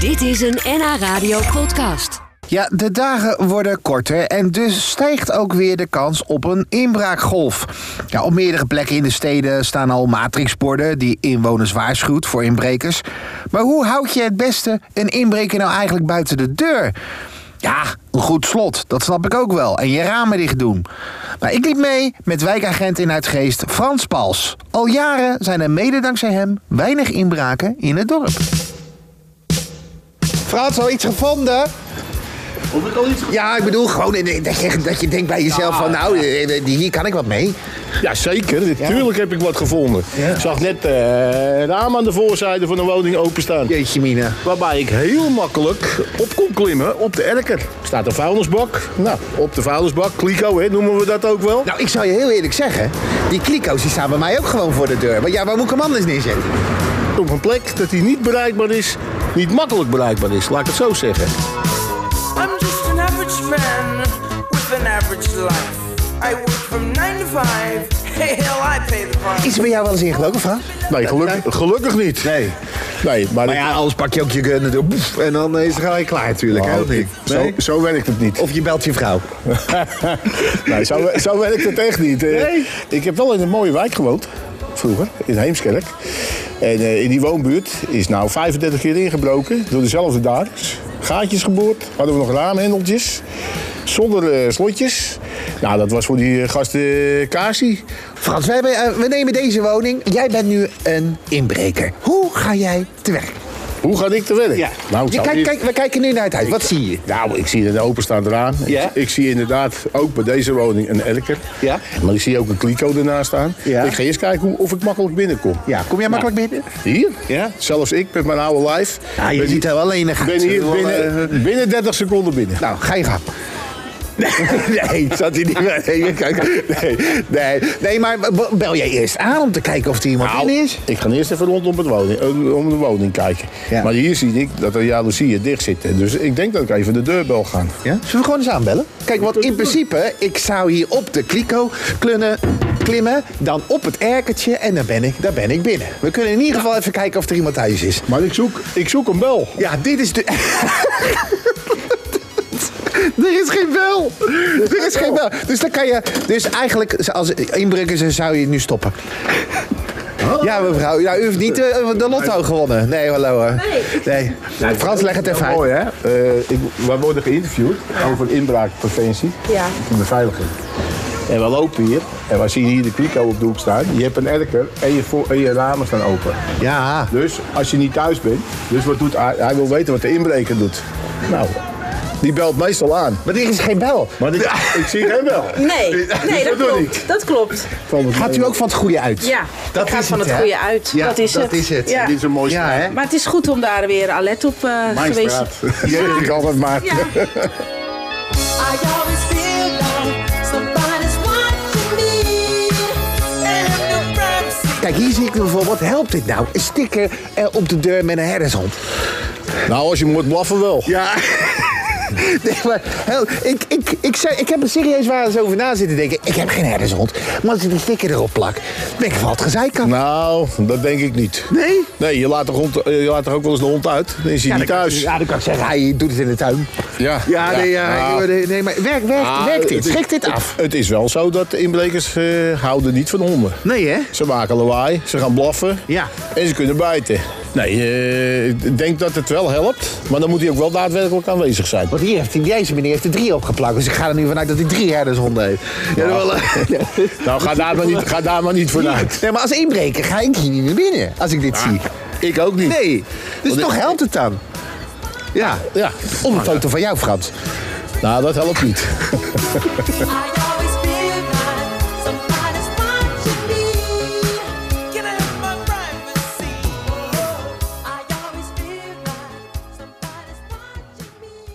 Dit is een NH Radio podcast. Ja, de dagen worden korter en dus stijgt ook weer de kans op een inbraakgolf. Ja, op meerdere plekken in de steden staan al matrixborden die inwoners waarschuwt voor inbrekers. Maar hoe houd je het beste een inbreker nou eigenlijk buiten de deur? Ja, een goed slot, dat snap ik ook wel. En je ramen dicht doen. Maar ik liep mee met wijkagent in Uitgeest Frans Pals. Al jaren zijn er mede dankzij hem weinig inbraken in het dorp. Frans, al iets gevonden? Of ik al iets... Ja, ik bedoel gewoon eh, dat je, dat je denkt bij jezelf van nou, eh, eh, hier kan ik wat mee. Ja, zeker. Natuurlijk heb ik wat gevonden. Ik zag net eh, een raam aan de voorzijde van de woning openstaan. Jeetje mine. Waarbij ik heel makkelijk op kon klimmen op de erker. Er staat een vuilnisbak. Nou, op de vuilnisbak. Kliko, hè, noemen we dat ook wel. Nou, ik zal je heel eerlijk zeggen, die kliko's die staan bij mij ook gewoon voor de deur. Want ja, waar moet ik hem anders neerzetten? Op een plek dat die niet bereikbaar is. Niet makkelijk bereikbaar is, laat ik het zo zeggen. I'm just an average man with an average life. I work from 9 to 5. Hell, I pay the price. Is er bij jou wel eens ingelopen, Frans? Nee, geluk- gelukkig niet. Nee. Nee, maar, Maar ik- ja, anders pak je ook je gun en doe boef, en dan is het gelijk klaar natuurlijk. hè, Nou, of niet? ik- zo, zo werkt het niet. Of je belt je vrouw. nee, zo, zo werkt het echt niet. Eh, Ik heb wel in een mooie wijk gewoond, vroeger, in Heemskerk. En eh, in die woonbuurt is nou 35 keer ingebroken door dezelfde daders. Gaatjes geboord, hadden we nog raamhendeltjes. Zonder eh, slotjes. Nou, dat was voor die eh, gasten eh, Kasi. Frans, wij hebben, eh, we nemen deze woning. Jij bent nu een inbreker. Hoe ga jij te werk? Hoe ga ik te werk? Nou, ik je zou kijkt- eerst- kijk, we kijken nu naar het huis. Wat zie je? Nou, ik zie een openstaand raam. Ja. Ik, ik zie inderdaad ook bij deze woning een elker. Ja. Maar ik zie ook een kliko ernaast staan. Ja. Ik ga eerst kijken hoe, of ik makkelijk binnenkom. Ja, kom jij makkelijk binnen? Hier? Ja. Zelfs ik met mijn oude lijf. Ja, je ben, ziet er wel lenig ben uit. eh, hier Wel, binnen, binnen 30 seconden binnen. Nou, ga je gang. nee, zat hij niet meer. Nee, kijk. Nee, nee. Nee, maar b- bel jij eerst aan om te kijken of er iemand Nou, in is? ik ga eerst even rondom het woning, eh, om de woning kijken. Ja. Maar hier zie ik dat de jaloezieën dicht zitten. Dus ik denk dat ik even de deurbel ga. Ja? Zullen we gewoon eens aanbellen? Kijk, want in principe, ik zou hier op de kliko klunnen, klimmen, dan op het erkertje en dan ben, ik, dan ben ik binnen. We kunnen in ieder geval even kijken of er iemand thuis is. Maar ik zoek, ik zoek een bel. Ja, dit is de... Er is geen bel! Er is geen bel! Dus dan kan je... Dus eigenlijk, als inbrekers zou je nu stoppen. Ja, mevrouw. Nou, u heeft niet eh, de lotto gewonnen. Nee, hallo. hoor. Nee. Nou, Frans, leg het even uit. Mooi, hè? Eh, ik, wij worden geïnterviewd over inbraakpreventie Ja. en beveiliging. En we lopen hier en we zien hier de kliko op de hoek staan. Je hebt een erker en je, voor- en je ramen staan open. Ja. Dus als je niet thuis bent, dus wat doet hij? Hij wil weten wat de inbreker doet. Nou, die belt meestal aan. Maar er is geen bel. Maar ik, ik zie hem wel. Nee, nee dat, dat doe klopt. Dat klopt. Gaat u ook van het goede uit? Ja, Dat ik ga is van het, het, hè? goede uit. Ja, dat is dat het. is het. Ja. Dit is een mooi Ja, straat. hè? Maar het is goed om daar weer alert op eh, Mijn geweest straat. Die heb ik altijd maakt. Ja. I always feel like somebody's watching me, and I'm the privacy. Kijk, hier zie ik bijvoorbeeld, helpt dit nou? Een sticker eh, op de deur met een herdershond. Nou, als je moet blaffen wel. Ja. Nee, maar hel- ik, ik, ik, zei- ik heb er serieus waar eens over na zitten denken. Ik heb geen herdershond. Maar als ik die sticker erop plak, ben ik van het gezeik aan. Nou, dat denk ik niet. Nee? Nee, je laat, de hond, eh, je laat toch ook wel eens de hond uit? Dan is hij niet thuis. Ja, dan kan ik zeggen, hij doet het in de tuin. Ja. Ja, nee, ja, Ja. joh, nee, nee, maar werkt werkt, Ah, werkt dit? het is- Schrikt dit af? Het is wel zo dat de inbrekers eh, houden niet van honden. Nee, hè? Ze maken lawaai, ze gaan blaffen Ja. en ze kunnen bijten. Nee, eh, ik denk dat het wel helpt, maar dan moet hij ook wel daadwerkelijk aanwezig zijn. Want hier heeft hij, deze meneer heeft er drie opgeplakt. Dus ik ga er nu vanuit dat hij drie herdershonden heeft. Ja, dat wel, eh, Nou, ga daar maar niet, ga daar maar niet vanuit. Nee, maar als inbreker ga ik hier niet meer binnen als ik dit zie. Ik ook niet. Nee, dus Ah. Want toch ik- helpt het dan? Ja, Ja. om een foto van jou, Frans. Nou, dat helpt niet. I always feel like somebody's watching me. Can I have my privacy? I always feel like somebody's watching me.